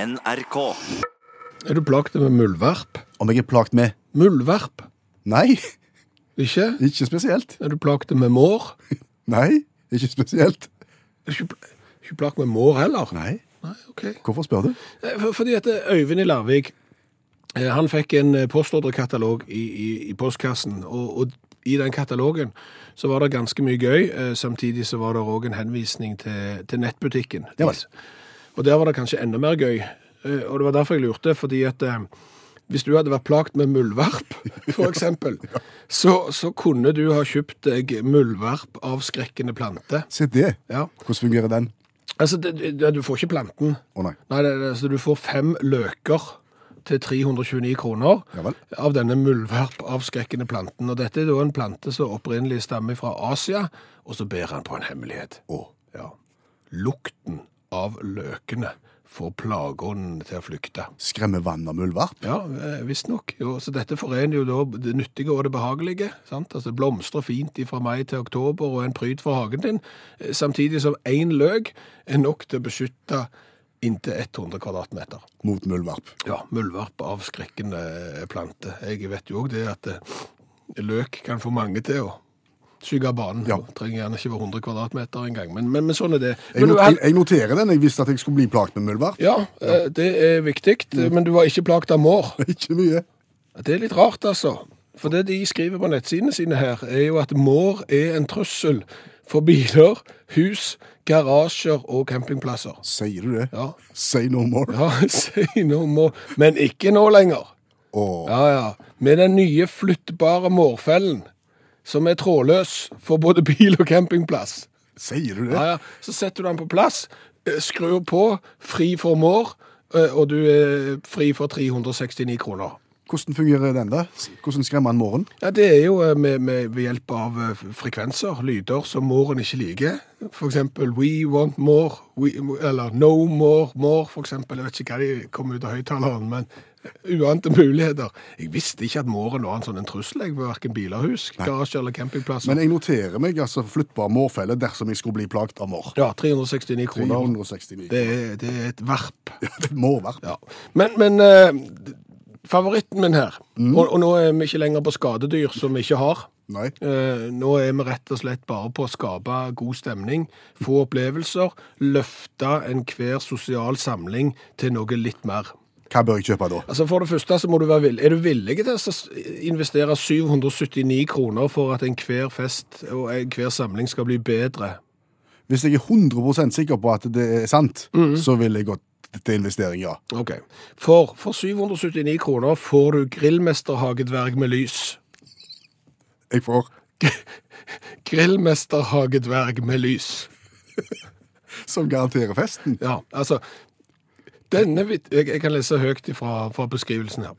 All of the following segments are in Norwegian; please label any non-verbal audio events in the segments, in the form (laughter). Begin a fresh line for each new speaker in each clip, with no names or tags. NRK.
Er du plaget med muldvarp?
Om jeg er plagt med
Muldvarp?
Nei, (laughs)
Ikke?
ikke spesielt.
Er du plaget med mår?
Nei, ikke spesielt.
Er du ikke, pl- ikke plaget med mår heller?
Nei.
Nei, ok.
Hvorfor spør du?
Eh, for- Fordi at eh, Øyvind i Larvik, eh, han fikk en eh, postordrekatalog i, i, i postkassen, og, og i den katalogen så var det ganske mye gøy, eh, samtidig så var det også en henvisning til, til nettbutikken.
Ja vel.
Og der var det kanskje enda mer gøy, eh, og det var derfor jeg lurte, fordi at eh, hvis du hadde vært plagt med muldvarp, for eksempel, så, så kunne du ha kjøpt deg muldvarp av skrekkende plante.
Se det.
Ja.
Hvordan fungerer den?
Altså, det, det, du får ikke planten.
Å nei.
Nei, det, det, så du får fem løker til 329 kroner
Ja vel.
av denne muldvarpavskrekkende planten. Og dette er da en plante som opprinnelig stammer fra Asia, og så ber han på en hemmelighet.
Å.
Ja. Lukten av løkene får plageånden til å flykte.
Skremme vann av muldvarp?
Ja, eh, visstnok. Jo, Så dette forener jo da det nyttige og det behagelige. sant? Altså det Blomstrer fint fra mai til oktober og er en pryd for hagen din, eh, samtidig som én løk er nok til å beskytte inntil 100 kvadratmeter.
Mot muldvarp.
Ja, muldvarp av skrekkende plante. Jeg vet jo òg det at eh, løk kan få mange til å skygge av banen.
Ja.
Trenger gjerne ikke være 100 kvadratmeter engang, men, men, men sånn er det.
Jeg,
Men du
not
er-
jeg, jeg noterer den. Jeg visste at jeg skulle bli plagt med muldvarp.
ja, eh, det er viktig, men du var ikke plaget av mår.
(laughs) Ikke mye.
Det er litt rart, altså. For det de skriver på nettsidene sine her, er jo at mår er en trussel for biler, hus, garasjer og campingplasser.
Sier du det?
Ja,
Say no more.
ja (laughs) si noe må Men ikke nå lenger.
Å.
Ja, ja. Med den nye flyttbare mårfellen, som er trådløs for både bil og campingplass.
Sier du det?
Ja, ja. Så setter du den på plass, eh, skrur på, fri for mår, eh, og du er fri for 369 kroner.
Hvordan fungerer den, da? Hvordan skremmer han måren?
Ja, Det er jo eh, med, med, ved hjelp av eh, frekvenser, lyder som måren ikke liker. For eksempel We want more, we, eller No more, more, for eksempel. Jeg vet ikke hva de kom ut av høyttaleren, men eh, uante muligheter. Jeg visste ikke at måren var en sånn en trussel, jeg, ved hverken bilerhus, garasje eller campingplasser.
Men jeg noterer meg altså flyttbar mårfelle dersom jeg skulle bli plagt av mår.
Ja, 369 kroner.
369.
Det er, det er et varp.
Ja, det er (laughs) mårvarp.
Ja. Men, men eh, favoritten min her, og, og nå er vi ikke lenger på skadedyr som vi ikke har.
Nei.
Eh, Nå er vi rett og slett bare på å skape god stemning, få opplevelser, løfte enhver sosial samling til noe litt mer.
Hva bør jeg kjøpe da?
Altså For det første så må du være villig. Er du villig til å s- investere 779 kroner for at enhver fest og enhver samling skal bli bedre?
Hvis jeg er 100 sikker på at det er sant,
Mm.
så vil jeg gått til investering, ja.
Ok. For, for 779 kroner får du grillmesterhagedverg med lys.
Jeg får
Grillmesterhagedverg med lys.
som garanterer festen.
Ja, altså denne, vit- jeg, jeg kan lese høyt fra, fra beskrivelsen her.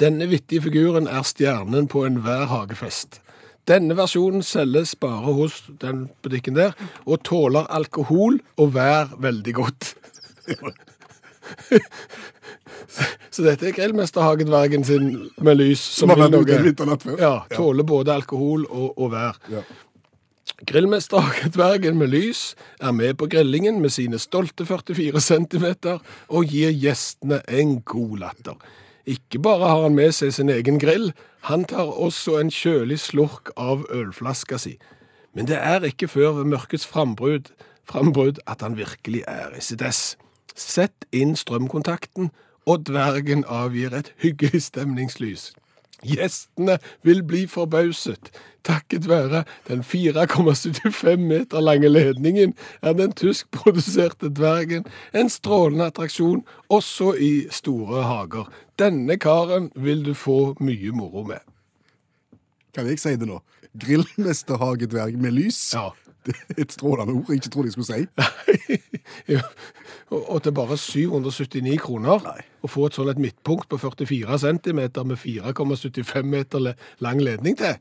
Denne vittige figuren er stjernen på enhver hagefest. Denne versjonen selges bare hos den butikken der, og tåler alkohol og vær veldig godt. (laughs) Så dette er grillmesterhagedvergen sin med lys.
Som har
vil
vært ute
noe.
en vinternatt før.
Ja, tåler både alkohol og, og vær.
Ja.
Grillmesterhagedvergen med lys er med på grillingen med sine stolte 44 cm og gir gjestene en god latter. Ikke bare har han med seg sin egen grill, han tar også en kjølig slurk av ølflaska si. Men det er ikke før ved mørkets frambrudd, frambrudd at han virkelig er i sitt ess. Sett inn strømkontakten, og dvergen avgir et hyggelig stemningslys. Gjestene vil bli forbauset. Takket være den 4,75 meter lange ledningen er den tyskproduserte dvergen en strålende attraksjon også i store hager. Denne karen vil du få mye moro med.
Kan jeg si det nå? Grillmesterhagedverg med lys.
Ja. (laughs)
Det er et strålende ord jeg ikke trodde jeg skulle si.
Ja, og og til bare 779 kroner
Nei.
å få et sånn et midtpunkt på 44 cm med 4,75 meter le- lang ledning til.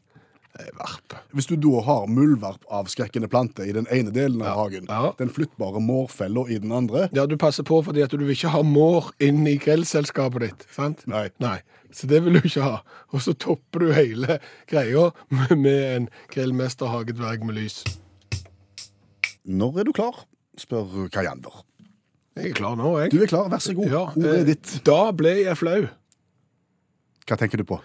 Det er Varp.
Hvis du da har muldvarpavskrekkende plante i den ene delen av hagen,
Ja.
den flyttbare mårfella i den andre
Ja, du passer på fordi at du vil ikke ha mår inn i grillselskapet ditt, sant?
Nei.
Så det vil du ikke ha. Og så topper du hele greia med, med en grillmesterhagedverg med lys.
Når er du klar? spør Kajander.
Jeg er klar nå, jeg.
Du er klar, vær så god.
Ja,
Ordet
eh,
er ditt.
Da ble jeg flau.
Hva tenker du på?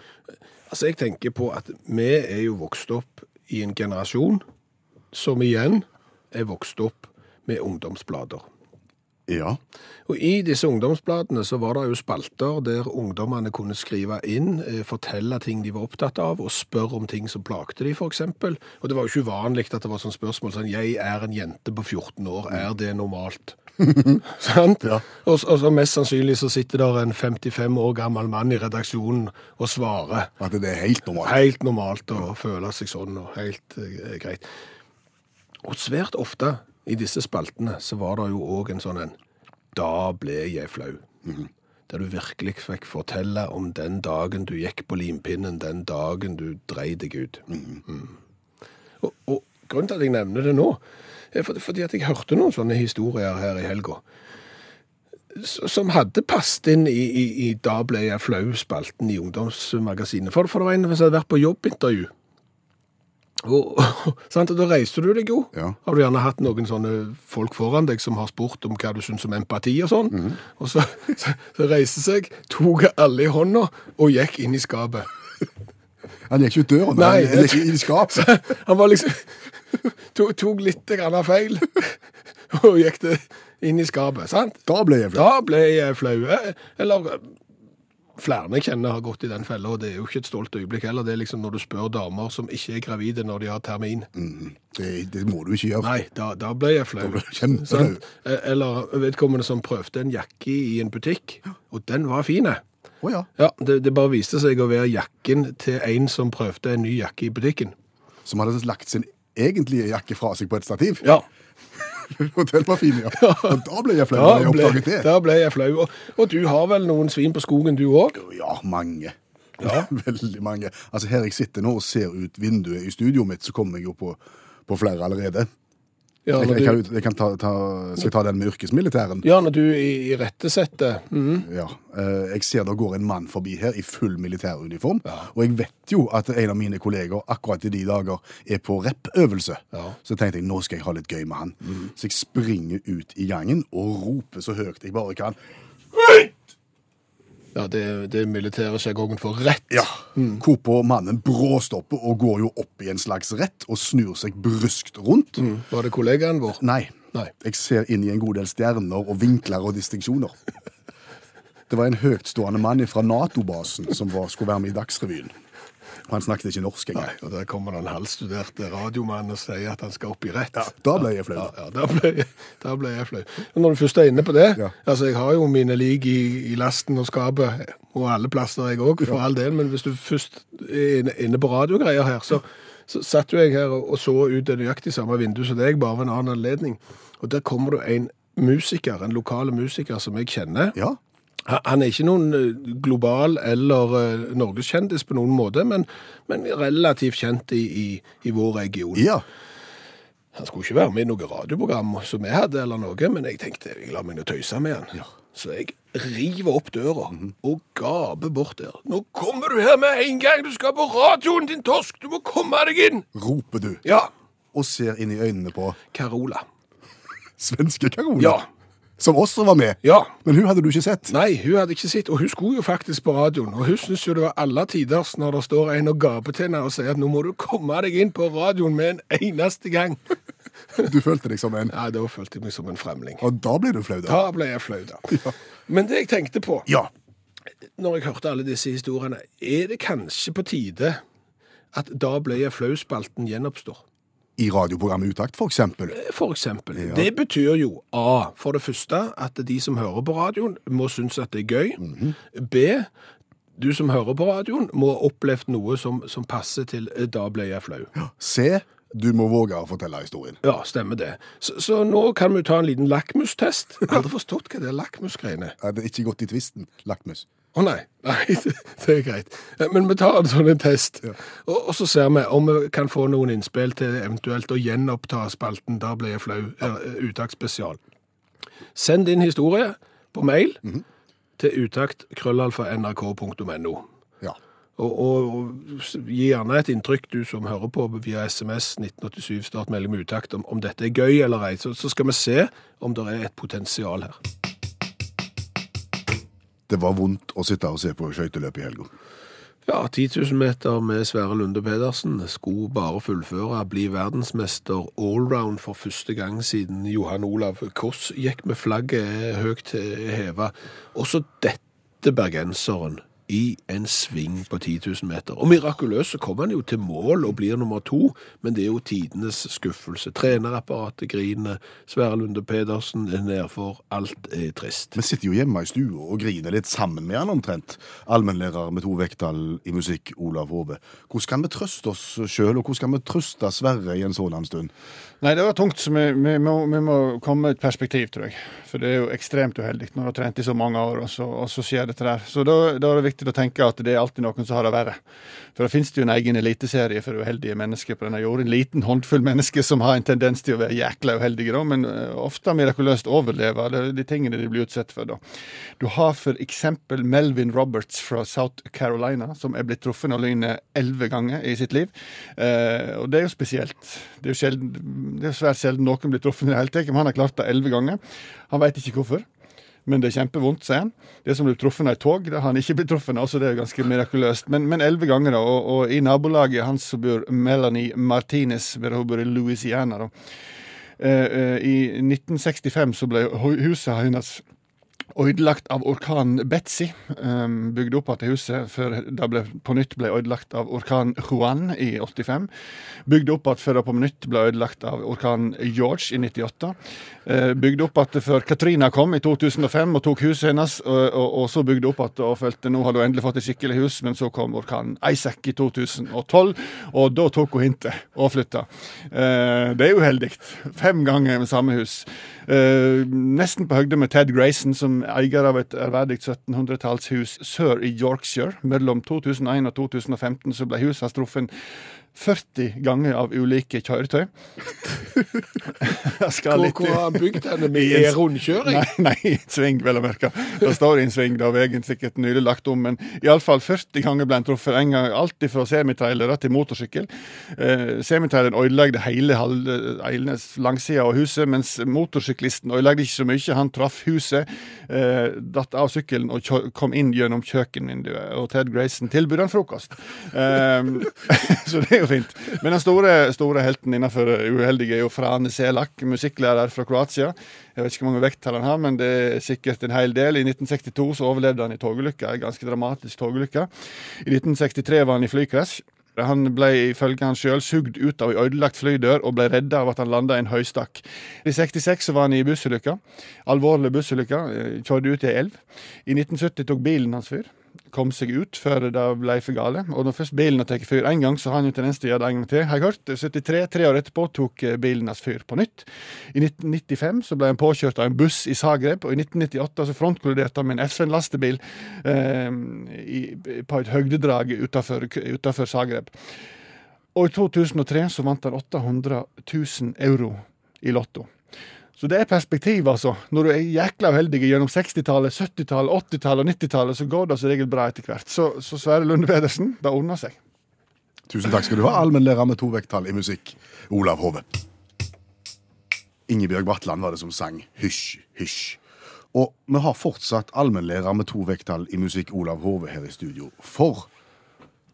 Altså, jeg tenker på at vi er jo vokst opp i en generasjon som igjen er vokst opp med ungdomsblader.
Ja.
Og I disse ungdomsbladene så var det jo spalter der ungdommene kunne skrive inn, eh, fortelle ting de var opptatt av, og spørre om ting som plagte de, f.eks. Og det var jo ikke uvanlig at det var sånn spørsmål sånn 'Jeg er en jente på 14 år, er det normalt?' Sant?
Ja.
Og, så- og så mest sannsynlig så sitter der en 55 år gammel mann i redaksjonen og svarer.
At det er helt normalt.
Helt normalt å føle seg sånn, og helt eh, greit. Og svært ofte i disse spaltene så var det jo òg en sånn en Da ble jeg flau. Der du virkelig fikk fortelle om den dagen du gikk på limpinnen, den dagen du drei deg ut. Mm. Og, og grunnen til at jeg nevner det nå, er fordi, fordi at jeg hørte noen sånne historier her i helga. s- Som hadde passet inn i, i, i Da ble jeg flau-spalten i ungdomsmagasinet. For, for det var en som hadde vært på jobbintervju. Og, (laughs) sant? og da reiser du deg jo.
Ja.
Har du gjerne hatt noen sånne folk foran deg som har spurt om hva du syns om empati og sånn? Og så, (laughs) så, så reiste seg, tok alle i hånda og gikk inn i skapet.
Han gikk ikke ut døren,
Nei,
han gikk i skapet.
(laughs) Han var liksom Tok, tok litt grann av feil (laughs) og gikk det inn i skapet. sant?
Da ble jeg flau.
Da ble jeg flau. eh, Eller eh, flere jeg kjenner har gått i den fella, og det er jo ikke et stolt øyeblikk heller. Det er liksom når du spør damer som ikke er gravide når de har termin.
Mm, Det, det må du ikke gjøre.
Nei, da, da ble jeg flau.
Da ble du kjempeflau.
(laughs) Sant? Eh, Eller vedkommende som prøvde en jakke i en butikk, og den var fin. eh.
Å ja.
Ja, det, det bare viste seg å være jakken til en som prøvde en ny jakke i butikken.
Som hadde lagt sin egentlige jakke fra seg på et stativ. (laughs)
Ja,
Og den var fin, ja. Og da ble jeg flau
da
da jeg
ble,
oppdaget det.
da ble jeg flau. Og, og du har vel noen svin på skogen, du òg?
Ja, mange.
Ja.
(laughs) Veldig mange. Altså Her jeg sitter nå og ser ut vinduet i studioet mitt, så kommer jeg jo på, på flere allerede.
Ja,
Jeg,
når
jeg,
du,
kan, jeg kan ta, ta, skal jeg ta den med yrkesmilitæren?
ja, når du i, i rettesetter mm,
Ja. Eh, Jeg ser det går en mann forbi her i full militæruniform. Og jeg vet jo at en av mine kolleger akkurat i de dager er på rappøvelse.
Ja.
Så tenkte jeg nå skal jeg ha litt gøy med han. Så jeg springer ut i gangen og roper så høyt jeg bare kan.
Ja, det, det militære sjargongen for rett.
Ja. Mm. Hvorpå mannen bråstopper og går jo opp i en slags rett og snur seg bryskt rundt.
Var det kollegaen vår?
Nei.
Nei.
Jeg ser inn i en god del stjerner og vinkler og distinksjoner. Det var en høytstående mann fra Nato-basen som var, skulle være med i Dagsrevyen. Og han snakket ikke norsk engang.
Og der kommer det en halvstuderte radiomann og sier at han skal opp i rett.
Da ble jeg flau.
Ja, ja da, ble, jeg- da ble jeg flau. Men når du først er inne på det
Ja.
altså Jeg har jo mine lik i, i lasten og skapet, og alle plasser jeg òg, for all del. Men hvis du først er inne- inne på radiogreier her, så, så satt jo jeg her og, og så ut det nøyaktig samme vindu som deg, bare ved en annen anledning. Og der kommer det en musiker, en lokal musiker som jeg kjenner.
Ja.
Han han er ikke noen eh, global eller eh, norgeskjendis på noen måte, men, men relativt kjent i, i, i vår region.
ja.
Han skulle ikke være med i noe radioprogram som vi hadde, eller noe, men jeg tenkte jeg la meg nå tøyse med han. Så jeg river opp døra og gaper bort der. Nå kommer du her med en gang! Du skal på radioen, din torsk! Du må komme deg inn!
Roper du.
Ja.
Og ser inn i øynene på
Carola.
svenske Carola.
Ja.
Som også var med.
Ja.
Men hun hadde du ikke sett.
Nei, hun hadde ikke sett, og hun skulle jo faktisk på radioen. Og hun syns jo det var alle tiders når det står en og gaper til henne og sier at nå må du komme deg inn på radioen med en eneste gang.
Du følte deg som en.
Nei, da følte jeg meg som en fremling.
Og da ble du flau, da.
Da ble jeg flau, da. Men det jeg tenkte på
Ja.
når jeg hørte alle disse historiene, er det kanskje på tide at da ble jeg flau-spalten gjenoppstår?
I radioprogrammet Utakt, for eksempel.
For eksempel. Det betyr jo A. For det første at de som hører på radioen, må synes at det er gøy. B. Du som hører på radioen, må ha opplevd noe som, som passer til eh, 'da ble jeg flau'.
Se, du må våge å fortelle historien.
Ja, stemmer det. Så, så nå kan vi ta en liten lakmustest. Jeg har aldri forstått hva det er lakmusgreiene er.
Jeg hadde ikke gått i tvisten, Lakmus.
Å nei. (laughs) nei, det det er greit. Men vi tar en sånn en test, og, og så ser vi om vi kan få noen innspill til eventuelt å gjenoppta spalten 'Da ble jeg flau', eh, uttaksspesial. Send din historie på mail til utakt.krøllalfa.nrk.no.
Ja.
Og, og, og gi gjerne et inntrykk, du som hører på via SMS 1987 start melding med utakt, om, om dette er gøy eller ei. Så, så skal vi se om det er et potensial her.
Det var vondt å sitte og se på skøyteløp i helga.
Ja, 10 000 meter med Sverre Lunde Pedersen skulle bare fullføre, bli verdensmester allround for første gang siden Johan Olav Koss gikk med flagget høyt heva. Og så dette bergenseren i en sving på 10 000 meter. Og mirakuløst så kommer han jo til mål og blir nummer to, men det er jo tidenes skuffelse. Trenerapparatet griner, Sverre Lunde Pedersen er nedfor, alt er trist.
Vi sitter jo hjemme i stua og griner litt sammen med han omtrent. Allmennlærer med to vekttall i musikk, Olav Hove. Hvordan kan vi trøste oss sjøl, og hvordan kan vi trøste Sverre i en sådan stund?
Nei, det var tungt, så vi, vi, må, vi må komme med et perspektiv, tror jeg. For det er jo ekstremt uheldig når du har trent i så mange år, og så, og så skjer dette der. Så da, da er det viktig å tenke at det er alltid noen som har det verre. For da finnes det jo en egen eliteserie for uheldige mennesker på denne jorda. En liten håndfull mennesker som har en tendens til å være jækla uheldige, da, men eh, ofte mirakuløst overlever de, de tingene de blir utsatt for. da. Du har for eksempel Melvin Roberts fra South Carolina, som er blitt truffet av lynet elleve ganger i sitt liv. Eh, og det er jo spesielt. Det er jo, sjelden, det er jo svært sjelden noen blir truffet i det hele tatt, men han har klart det elleve ganger. Han veit ikke hvorfor. Men det er kjempevondt, sier han. Det som blir truffet av et tog, det har han ikke blitt truffet av, så det er jo ganske mirakuløst. Men elleve ganger, da. Og, og i nabolaget hans så bor Melanie Martinez, bare hun bor i Louisiana, da. Eh, eh, I 1965 så ble hu- huset hennes ødelagt av orkanen Betzy. Um, bygde opp igjen huset før det ble, på nytt ble ødelagt av orkan Juan i 85. Bygde opp igjen før det på nytt ble ødelagt av orkan George i 98. Eh, bygde opp igjen før Katrina kom i 2005 og tok huset hennes. Og, og, og så bygde opp igjen og følte nå har du endelig fått et skikkelig hus, men så kom orkanen Isaac i 2012, og da tok hun hintet og flytta. Eh, det er uheldig. Fem ganger med samme hus. Eh, nesten på høgde med Ted Grayson, som eier av et ærverdig 1700-tallshus sør i Yorkshire. Mellom 2001 og 2015 så ble huset hans truffet 40 ganger av ulike kjøretøy. (laughs) Jeg skal
Hvor,
litt
hvor har han bygd denne
I en
med
s-
rundkjøring?
Nei, nei, i en sving, vel å merke. Det står i en sving, da veien sikkert nylig lagt om, men iallfall 40 ganger ble han truffet. En gang alltid fra semitrailere til motorsykkel. Eh, semitraileren ødelagde hele halve- hele langsida av huset, mens motorsyklisten ødelagde ikke så mye. Han traff huset, eh, datt av sykkelen og kjø kom inn gjennom kjøkkenvinduet. Og Ted Grayson tilbød han frokost. Eh, (laughs) så det er jo fint. Men den store, store helten innenfor uheldige er jo Frane Selak, musikklærer fra Kroatia. Jeg vet ikke hvor mange vekttall han har, men det er sikkert en hel del. I 1962 så overlevde han i togulykka, en ganske dramatisk togulykka. I 1963 var han i flykrasj. Han ble ifølge han sjøl sugd ut av ei ødelagt flydør og ble redda av at han landa i en høystakk. I 66 så var han i bussulykke. Alvorlig bussulykke. eh, Kjørte ut i ei elv. I 1970 tok bilen hans fyr kom seg ut før det ble for gale. Og når først bilen har tatt fyr én gang, så har han jo tendens til å gjøre det en gang til. Har jeg hørt. 73, tre år etterpå, tok eh, bilen hans fyr på nytt. I 1995 så ble han påkjørt av en buss i Zagreb, og i 1998 så frontkolliderte han med en FN-lastebil eh, i- på et høgdedrag utafor Zagreb. Og i 2003 så vant han 800 000 euro i Lotto. Så det er perspektiv, altså. Når du er jækla uheldig gjennom 60-tallet, 70-tallet, 80-tallet og 90-tallet, så går det som regel bra etter hvert. Så, så Sverre Lunde Pedersen, det ordner seg.
Tusen takk skal du ha, allmennlærer med to vekttall i musikk, Olav Hove. Ingebjørg Bratland var det som sang Hysj, hysj. Og vi har fortsatt allmennlærer med to vekttall i musikk, Olav Hove, her i studio. For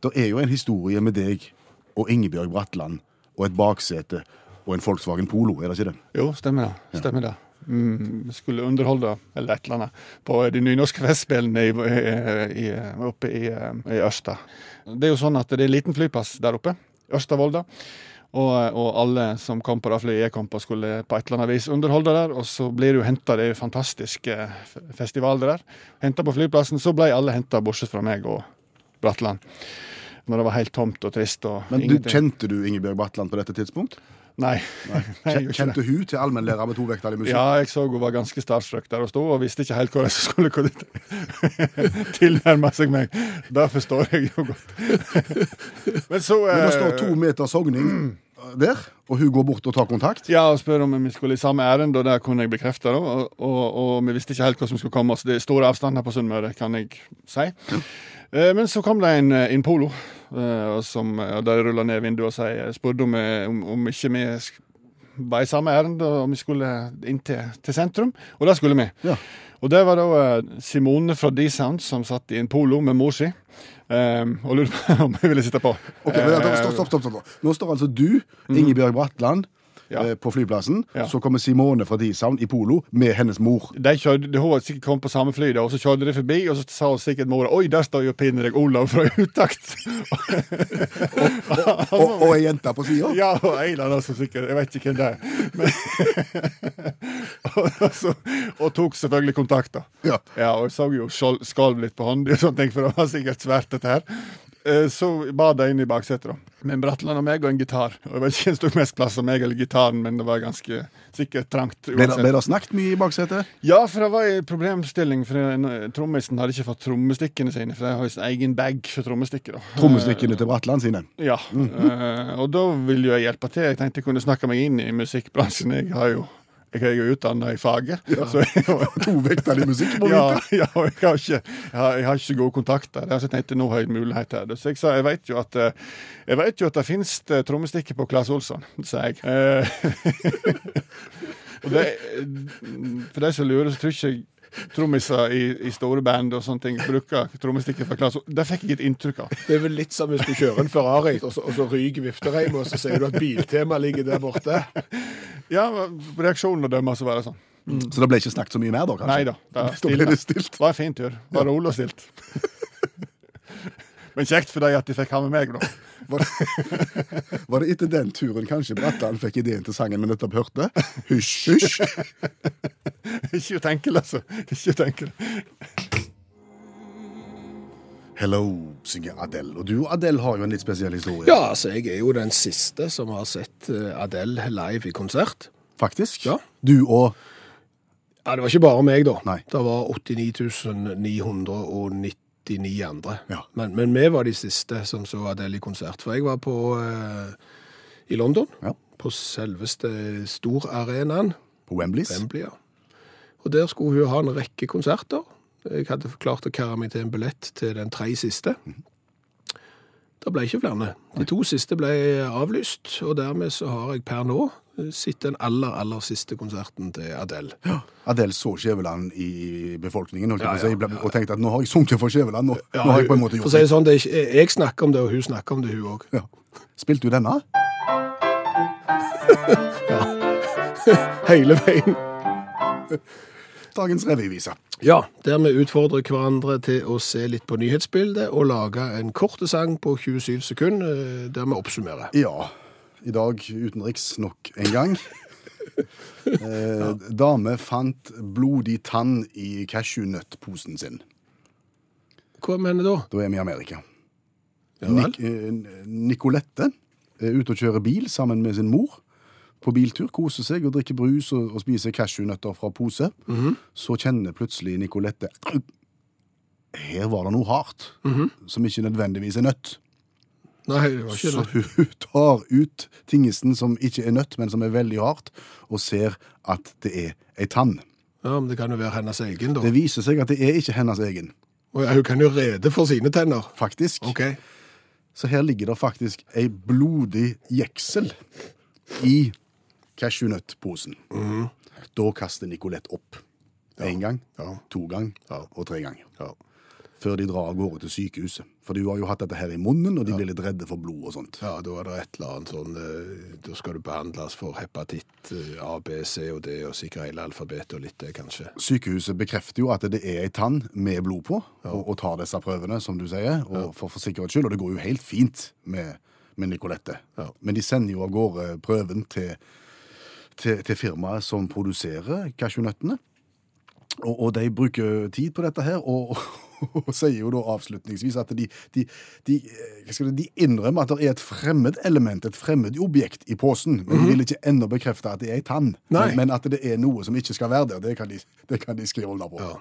det er jo en historie med deg og Ingebjørg Bratland og et baksete og en Volkswagen Polo, er det ikke det?
Jo, stemmer det. Stemmer det. Mm, skulle underholde, eller et eller annet, på de nynorske festspillene i, i, i, oppe i, i Ørsta. Det er jo sånn at det er en liten flyplass der oppe, Ørsta-Volda. Og, og alle som kom på det flyet jeg kom på, skulle på et eller annet vis underholde der. Og så blir du henta, det er jo en fantastisk eh, f- festival det der. Henta på flyplassen, så ble alle henta, bortsett fra meg og Bratland. Når det var helt tomt og trist og
Men du,
ingenting.
kjente du Ingebjørg Bratland på dette tidspunkt?
Nei. (laughs) Nei, jeg gjorde ikke det.
Kjente hun til allmennlærer med to vekttall i musikk?
Ja, jeg så hun var ganske starstruck der hun sto, og visste ikke helt hvordan hun skulle kunne (laughs) tilnærme seg meg.
(laughs)
Det forstår jeg jo godt. Men så
Men det
eh,
står to meter sogning. der, og hun går bort og tar kontakt.
Ja, og spør om vi skulle i samme ærend, og der kunne jeg bekrefte det. Og, og, og vi visste ikke helt hva som skulle komme, så det er store avstander på Sunnmøre, kan jeg si. Eh, Men så kom det en, en polo, eh, og som, og der rulla ned vinduet og sier, spurte om, eh, om, om ikke vi sk- var i samme ærend, og om vi skulle inn til, til sentrum. Og det skulle vi.
Ja.
Og der var da eh, Simone fra D-Sound som satt i en polo med mor si, eh, og lurte på (laughs) om jeg ville sitte på.
Ok, men
Eh,
da- stopp, stopp, stopp, stopp. Nå står altså du, Ingebjørg Bratland,
Mhm. Ja.
eh, på flyplassen.
Ja.
Så kommer Simone fra D-Sound i polo med hennes
(laughs)
mor.
de kjørte, de- Hun hadde sikkert kommet på samme fly, da, og så kjørte de forbi, og så sa hun sikkert mora Oi, der står jo Pinnerød Olav fra Utakt! (laughs)
Og, og ei jente på sida.
ja, og en eller annen som sikkert Jeg vet ikke hvem det er. Men, (laughs) og, så, og tok selvfølgelig kontakt, da.
Ja.
og jeg så jo skjol- skalv litt på hånda, og (laughs) sånne ting, for det var sikkert svært, dette her. Eh, Så ba de inn i baksetet, da. Med en Bratland og meg og en gitar. Og jeg vet ikke hvem som tok mest plass av meg eller gitaren, men det var ganske sikkert trangt.
Ble det,
uansett.
ble det snakket mye i baksetet?
Ja, for det var en problemstilling. For en- eh, Trommisen hadde ikke fått trommestikkene sine, for de har jo sin egen bag for trommestikker. da. Eh.
Trommestikkene til Bratland sine.
Ja, eh, og da ville jo jeg hjelpe til. Jeg tenkte jeg kunne snakke meg inn i musikkbransjen. Jeg har jo jeg er jo utdanna i faget. Så jeg,
To vekter i musikk, må du
(laughs) ja,
vite.
ja, og jeg har ikke, jeg har, jeg har ikke gode kontakter. Så jeg tenkte nå har jeg en mulighet her. Så jeg sa jeg vet jo at, eh, jeg vet jo at det finnes eh, trommestikker på Claes Olsson, sa jeg. Eh, (laughs) og det, for de som lurer, så tror ikke jeg trommiser i, i store band og sånne ting bruker trommestikker fra Claes Olsson. Det fikk jeg et inntrykk av.
Det er vel litt som hvis du kjører en Ferrari, og så, og så ryker viftereimen, og så sier du at Biltema ligger der borte.
Ja, reaksjonen å dømme, så var det sånn.
Så det ble ikke snakket så mye mer, da? kanskje?
Nei da. Det er
(laughs) Da ble det
stille.
stilt.
Det var en fin tur. Bare rolig
(laughs)
og stilt. Men kjekt for dem at de fikk ha med meg, da.
Var det, (laughs) var det etter den turen kanskje Bratland fikk ideen til sangen vi nettopp hørte?
(laughs)
Hysj, hysj.
Ikke utenkelig, altså. Ikke utenkelig.
Hello, synger Adele. Og du og Adele har jo en litt spesiell historie.
Ja, altså, jeg er jo den siste som har sett eh, Adele live i konsert.
Faktisk.
Ja.
Du og
Ja, det var ikke bare meg, da.
Nei.
Det var 89.999 andre.
Ja.
Men, men vi var de siste som så Adele i konsert. For jeg var på eh, i London.
Ja.
På selveste storarenaen.
på Wembleys.
Wembley, ja. Og der skulle hun ha en rekke konserter. Jeg hadde klart å karre meg til en billett til den tre siste. Det ble ikke flere. De to siste ble avlyst, og dermed så har jeg per nå eh, sett den aller, aller siste konserten til Adele.
Adele så Skjæveland i befolkningen holdt jeg
Ja,
på å si,
ja,
ble- og tenkte at nå har jeg sunket for Skjæveland. Nå, nå har jeg på en måte
For å
gjort
si
det.
det sånn, det er ikke, jeg snakker om det, og hun snakker om det, hun òg.
Ja. Spilte du denne? (laughs)
Hele veien.
Dagens revyvise.
Ja, der vi utfordrer hverandre til å se litt på nyhetsbildet og lage en kort sang på 27 sekunder, eh, der vi oppsummerer.
Ja. I dag utenriks nok en
(laughs)
gang. Eh, dame fant blodig tann i cashewnøttposen sin.
Hva mener du da?
Da er vi i Amerika.
Ja vel?
Nik eh, Nicolette er ute og kjører bil sammen med sin mor. På biltur koser seg og drikker brus og, og spiser cashewnøtter fra pose.
Mhm.
Så kjenner plutselig Nicolette Au! Her var det noe hardt,
Mhm.
som ikke nødvendigvis er nøtt.
Nei, det var ikke
Så
det.
hun tar ut tingesten som ikke er nøtt, men som er veldig hardt, og ser at det er ei tann.
Ja, men det kan jo være hennes egen, da.
Det viser seg at det er ikke hennes egen,
Og ja, hun kan jo rede for sine tenner.
faktisk.
Ok.
Så her ligger det faktisk ei blodig jeksel i cashewnøttposen. Da kaster Nicolette opp. Én gang, to gang og tre gang. Før de drar av gårde til sykehuset. For du har jo hatt dette her i munnen, og de blir litt redde for blod og sånt.
Ja, da er det et eller annet sånn eh, Da skal du behandles for hepatitt eh, A, B, C og D, og sikkert hele alfabetet og litt det, kanskje.
Sykehuset bekrefter jo at det er ei tann med blod på, og, og tar disse prøvene, som du sier, og for, for sikkerhets skyld. Og det går jo helt fint med, med Nicolette.
Ja.
Men de sender jo av gårde prøven til, til, til firmaet som produserer cashewnøttene. Og, og de bruker tid på dette her, og, (laughs) og, sier jo da avslutningsvis at de, de, de, eh, hva skal det, de innrømmer at det er et fremmed element, et fremmed objekt i posen, men de vil ikke ennå bekrefte at det er ei tann,
Mhm. Nei.
men, men at det er noe som ikke skal være der, det kan de, det kan de skrive under på.
Ja.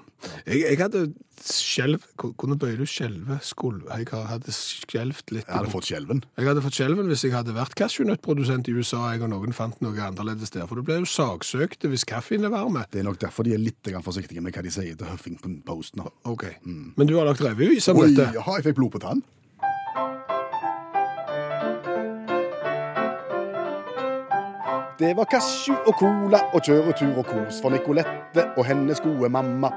Jeg, jeg hadde skjelv Kunne bøye du skjelve? Skul- Jeg har- hadde skjelvt litt.
Jeg hadde fått skjelven.
Jeg hadde fått skjelven hvis jeg hadde vært cashewnøttprodusent i USA jeg og noen fant noe annerledes der. For du ble jo saksøkt hvis kaffen er varme.
Det er nok derfor de er litt grann forsiktige med hva de sier til Huffington Post nå.
Ok. Men du har lagt revyvis om
Oi,
dette.
ja, jeg fikk blod på tann. Det var cashew og cola og kjøretur og kos for Nicolette og hennes gode mamma.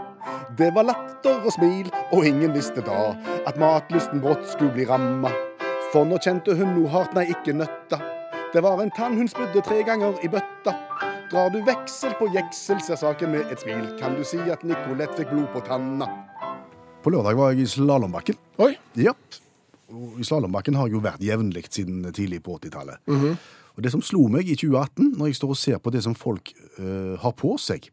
Det var latter og smil, og ingen visste da at matlysten brått skulle bli ramma. For nå kjente hun noe hardt, nei, ikke nøtta. Det var en tann hun spydde tre ganger i bøtta. Drar du veksel på jeksel, ser saken med et smil. Kan du si at Nicolette fikk blod på tanna? På lørdag var jeg i slalåmbakken.
Oi.
Ja. Og I slalåmbakken har jeg jo vært jevnlig siden tidlig på 80-tallet. Og Det som slo meg i 2018, når jeg står og ser på det som folk eh, har på seg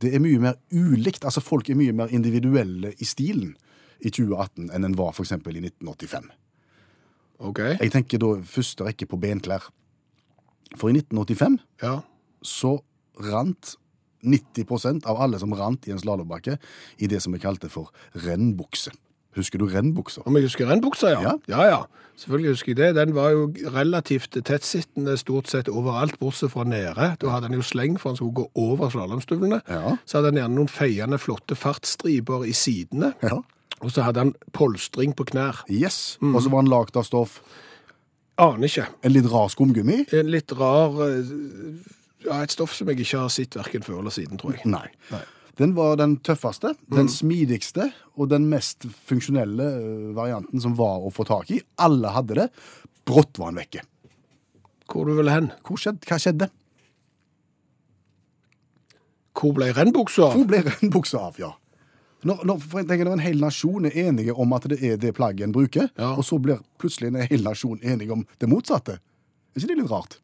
Det er mye mer ulikt. Altså Folk er mye mer individuelle i stilen i 2018 enn en var f.eks. i 1985.
Ok.
Jeg tenker da første rekke på benklær. For i 1985
Ja.
så rant 90 av alle som rant i en slalåmbakke, i det som vi kalte for rennbukse. Husker du rennbukser?
Om jeg husker rennbuksa, ja.
Ja.
ja. Ja, Selvfølgelig husker jeg det. Den var jo relativt tettsittende stort sett overalt, bortsett fra nede. Da hadde han jo sleng for han skulle gå over slalåmstøvlene.
Ja.
Så hadde han gjerne noen feiende flotte fartsstriper i sidene.
Ja. Mhm.
Og så hadde han polstring på knær.
Yes. Og så var den lagd av stoff.
Aner ikke.
En litt rar skumgummi?
En litt rar eh, Ja, et stoff som jeg ikke har sett verken før eller siden, tror jeg.
Nei. Mhm. Den var den tøffeste, den smidigste og den mest funksjonelle ø, varianten som var å få tak i. Alle hadde det. Brått var den vekke.
Hvor du ville hen?
Hvor skjedde? Hva skjedde?
Hvor ble rennbuksa? av?
Hvor ble rennbuksa av, ja? Når, når, for jeg tenker, når en hel nasjon er enige om at det er det plagget en bruker,
Ja.
og så blir plutselig en hel nasjon enige om det motsatte, er ikke det litt rart?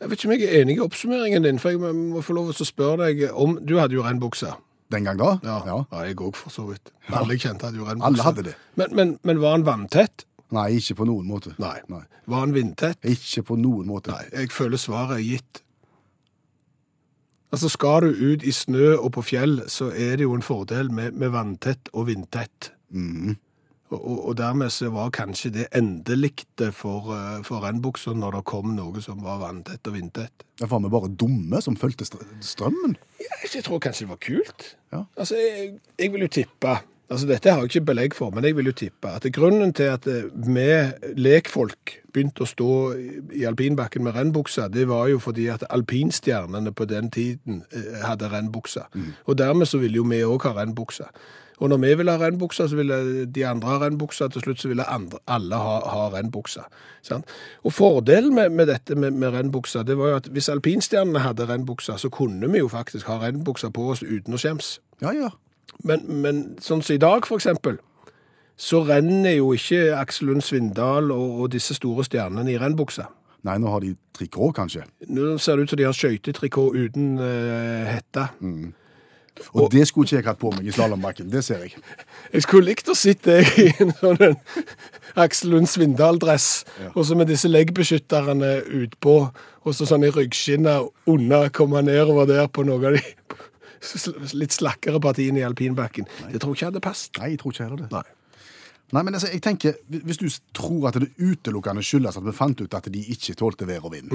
Jeg vet ikke om jeg er enig i oppsummeringen din, for jeg må- må få lov til å spørre deg om Du hadde jo rennbuksa.
Den gang da?
Ja, ja.
Ja.
jeg òg, for så vidt. Alle jeg kjente hadde jo rennbukse.
Alle hadde det.
Men, men, men var han vanntett?
Nei, ikke på noen måte.
Nei. Var han vindtett?
Ikke på noen måte.
Nei. Jeg føler svaret er gitt. Altså, skal du ut i snø og på fjell, så er det jo en fordel med, med vanntett og vindtett. Mhm. Og, og, og dermed så var kanskje det endeligte for, eh, for rennbuksa når det kom noe som var vanntett og vindtett.
Derfor var vi bare dumme som fulgte str strømmen.
Jeg tror kanskje det var kult.
Ja.
Altså, jeg, jeg vil jo tippe altså Dette har jeg ikke belegg for, men jeg vil jo tippe at grunnen til at eh, vi lekfolk begynte å stå i alpinbakken med rennbukser, det var jo fordi at alpinstjernene på den tiden eh, hadde rennbukser. Og dermed så ville jo vi òg ha rennbukser. Og når vi ville ha rennbukser, så ville de andre ha rennbukser. Til slutt så ville andre, alle ha, ha rennbukser. Sant? Og fordelen med, med dette med, med rennbukser, det var jo at hvis alpinstjernene hadde rennbukser, så kunne vi jo faktisk ha rennbukser på oss uten å skjems.
Ja, ja.
Men, men sånn som i dag, for eksempel, så renner jo ikke Aksel Lund Svindal og, og disse store stjernene i rennbuksa.
Nei, nå har de trikot, kanskje.
Nå ser det ut som de har skøytetrikot uten eh, hette.
Og, det skulle ikke jeg hatt på meg i slalåmbakken. Det ser jeg.
Jeg skulle likt å sitte i en sånn en Aksel Lund Svindal-dress, og så med disse leggbeskytterne utpå, og så sånn i ryggskinnet unna, komme nedover der på noen av de sl- litt slakkere partiene i alpinbakken. Det tror jeg ikke hadde passet.
Nei, jeg tror ikke heller det. Nei. men altså, jeg tenker, hvi- Hvis du s- tror at det utelukkende skyldes at vi fant ut at de ikke tålte vær og vind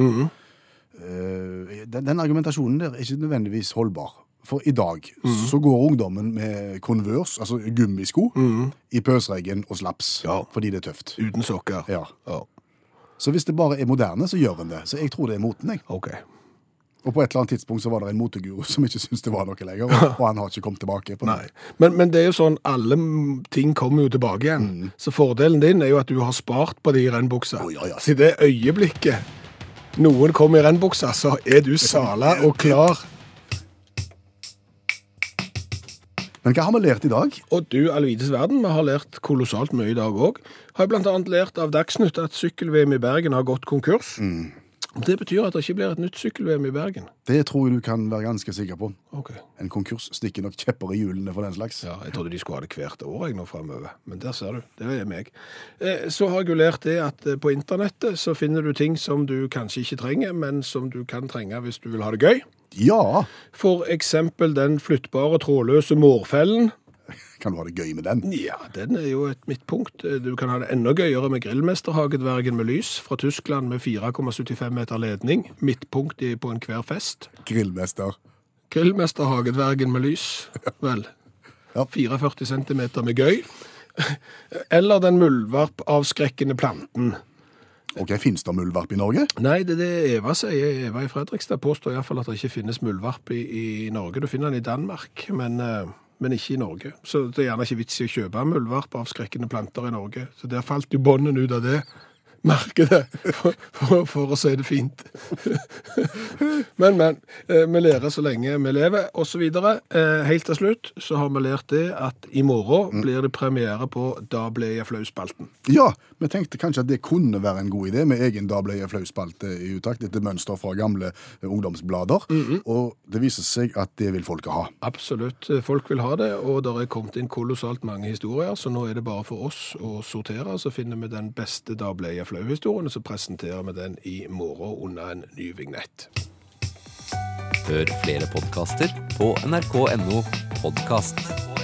eh, den, den argumentasjonen der er ikke nødvendigvis holdbar. For i dag så går ungdommen med Converse, altså gummisko, i pøsregn og slaps
Ja.
fordi det er tøft.
Uten sokker.
Ja. Så hvis det bare er moderne, så gjør en det. Så jeg tror det er moten, jeg.
Ok.
Og på et eller annet tidspunkt så var det en moteguru (laughs) som ikke syntes det var noe lenger, og og han har ikke kommet tilbake. på det.
Nei. Men, men det er jo sånn, alle m- ting kommer jo tilbake igjen. Så fordelen din er jo at du har spart på de rennbuksa.
Mm. Å, ja, ja.
Så i det øyeblikket noen kommer i rennbuksa, så er du sala og klar.
Men hva har vi lært i dag?
Og du, allvides verden, vi har lært kolossalt mye i dag òg. Har blant annet lært av Dagsnytt at sykkel-VM i Bergen har gått konkurs.
Mm.
Det betyr at det ikke blir et nytt sykkel-VM i Bergen.
Det tror jeg du kan være ganske sikker på.
Ok.
En konkurs stikker nok kjepper i hjulene for den slags.
Ja, Jeg trodde de skulle ha det hvert år jeg nå framover, men der ser du. Det er meg. Eh, Så har jeg jo lært det at eh, på internettet så finner du ting som du kanskje ikke trenger, men som du kan trenge hvis du vil ha det gøy.
Ja,
For eksempel den flyttbare trådløse mårfellen.
Kan du ha det gøy med den?
Ja, den er jo et midtpunkt. Eh, Du kan ha det enda gøyere med grillmesterhagedvergen med lys fra Tyskland med 4,75 meter ledning. Midtpunkt i- på enhver fest.
Grillmester.
Grillmesterhagedvergen med lys, vel.
Ja.
44 cm med gøy. Eller den muldvarpavskrekkende planten.
Ok, Fins det muldvarp i Norge?
Nei, det er det Eva sier. Eva i Fredrikstad påstår iallfall at det ikke finnes muldvarp i, i Norge. Du finner den i Danmark, men, eh, men ikke i Norge. Så det er gjerne ikke vits i å kjøpe muldvarp av skrekkende planter i Norge. Så der falt jo bånden ut av det (laughs) markedet, for, for, for å si det fint. (laughs) Men, men. eh, Vi lærer så lenge vi lever, osv. Eh, Helt til slutt så har vi lært det at i morgen blir det premiere på Da ble jeg flau-spalten.
Ja, vi tenkte kanskje at det kunne være en god idé med egen Da ble jeg flau-spalte i utakt, etter mønster fra gamle eh, ungdomsblader. Og det viser seg at det vil folket ha.
Absolutt. Folk vil ha det, og det er kommet inn kolossalt mange historier, så nå er det bare for oss å sortere, så finner vi den beste Da ble jeg flau-historien, og så presenterer vi den i morgen under en ny vignett.
Hør flere podkaster på nrk.no podkast.